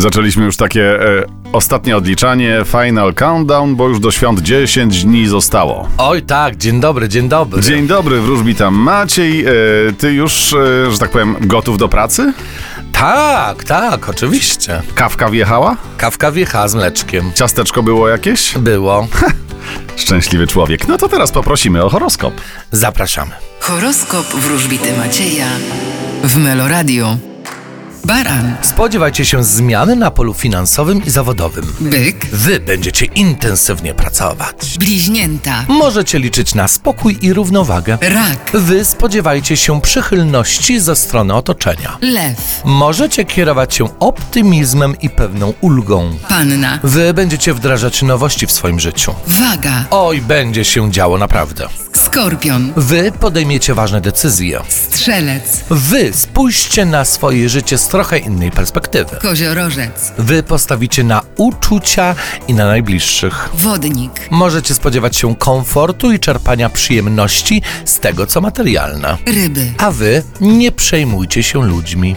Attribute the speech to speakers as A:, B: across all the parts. A: Zaczęliśmy już takie e, ostatnie odliczanie, final countdown, bo już do świąt 10 dni zostało.
B: Oj tak, dzień dobry, dzień dobry.
A: Dzień dobry, wróżbita Maciej. E, ty już, e, że tak powiem, gotów do pracy?
B: Tak, tak, oczywiście.
A: Kawka wjechała?
B: Kawka wiecha z mleczkiem.
A: Ciasteczko było jakieś?
B: Było.
A: Szczęśliwy człowiek. No to teraz poprosimy o horoskop.
B: Zapraszamy.
C: Horoskop wróżbity Macieja w Meloradio. Baran,
B: Spodziewajcie się zmiany na polu finansowym i zawodowym.
C: byk,
B: Wy będziecie intensywnie pracować.
C: bliźnięta,
B: Możecie liczyć na spokój i równowagę.
C: rak,
B: Wy spodziewajcie się przychylności ze strony otoczenia.
C: lew,
B: Możecie kierować się optymizmem i pewną ulgą.
C: panna,
B: Wy będziecie wdrażać nowości w swoim życiu.
C: waga,
B: Oj, będzie się działo naprawdę.
C: skorpion,
B: Wy podejmiecie ważne decyzje.
C: strzelec,
B: Wy spójrzcie na swoje życie z trochę innej perspektywy.
C: koziorożec,
B: Wy postawicie na uczucia i na najbliższych.
C: wodnik,
B: Możecie spodziewać się komfortu i czerpania przyjemności z tego, co materialne.
C: ryby.
B: A wy nie przejmujcie się ludźmi.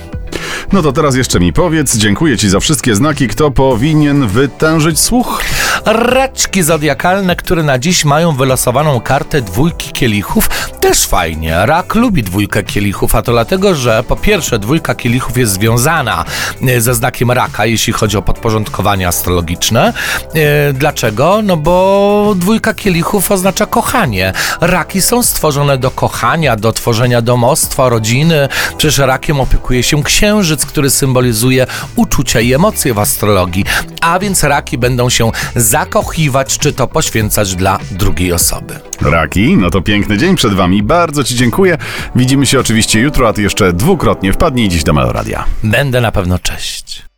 A: No to teraz jeszcze mi powiedz, dziękuję Ci za wszystkie znaki, kto powinien wytężyć słuch.
B: Raczki zodiakalne, które na dziś mają wylosowaną kartę dwójki kielichów, też fajnie. Rak lubi dwójkę kielichów, a to dlatego, że po pierwsze dwójka kielichów jest związana e, ze znakiem raka, jeśli chodzi o podporządkowanie astrologiczne. E, Dlaczego? No bo dwójka kielichów oznacza kochanie. Raki są stworzone do kochania, do tworzenia domostwa, rodziny. Przecież rakiem opiekuje się księżyc, który symbolizuje uczucia i emocje w astrologii. A więc raki będą się zakochiwać, czy to poświęcać dla drugiej osoby.
A: Raki, no to piękny dzień przed Wami. Bardzo Ci dziękuję. Widzimy się oczywiście jutro, a Ty jeszcze dwukrotnie wpadnij dziś do Meloradia.
B: Będę na pewno cześć.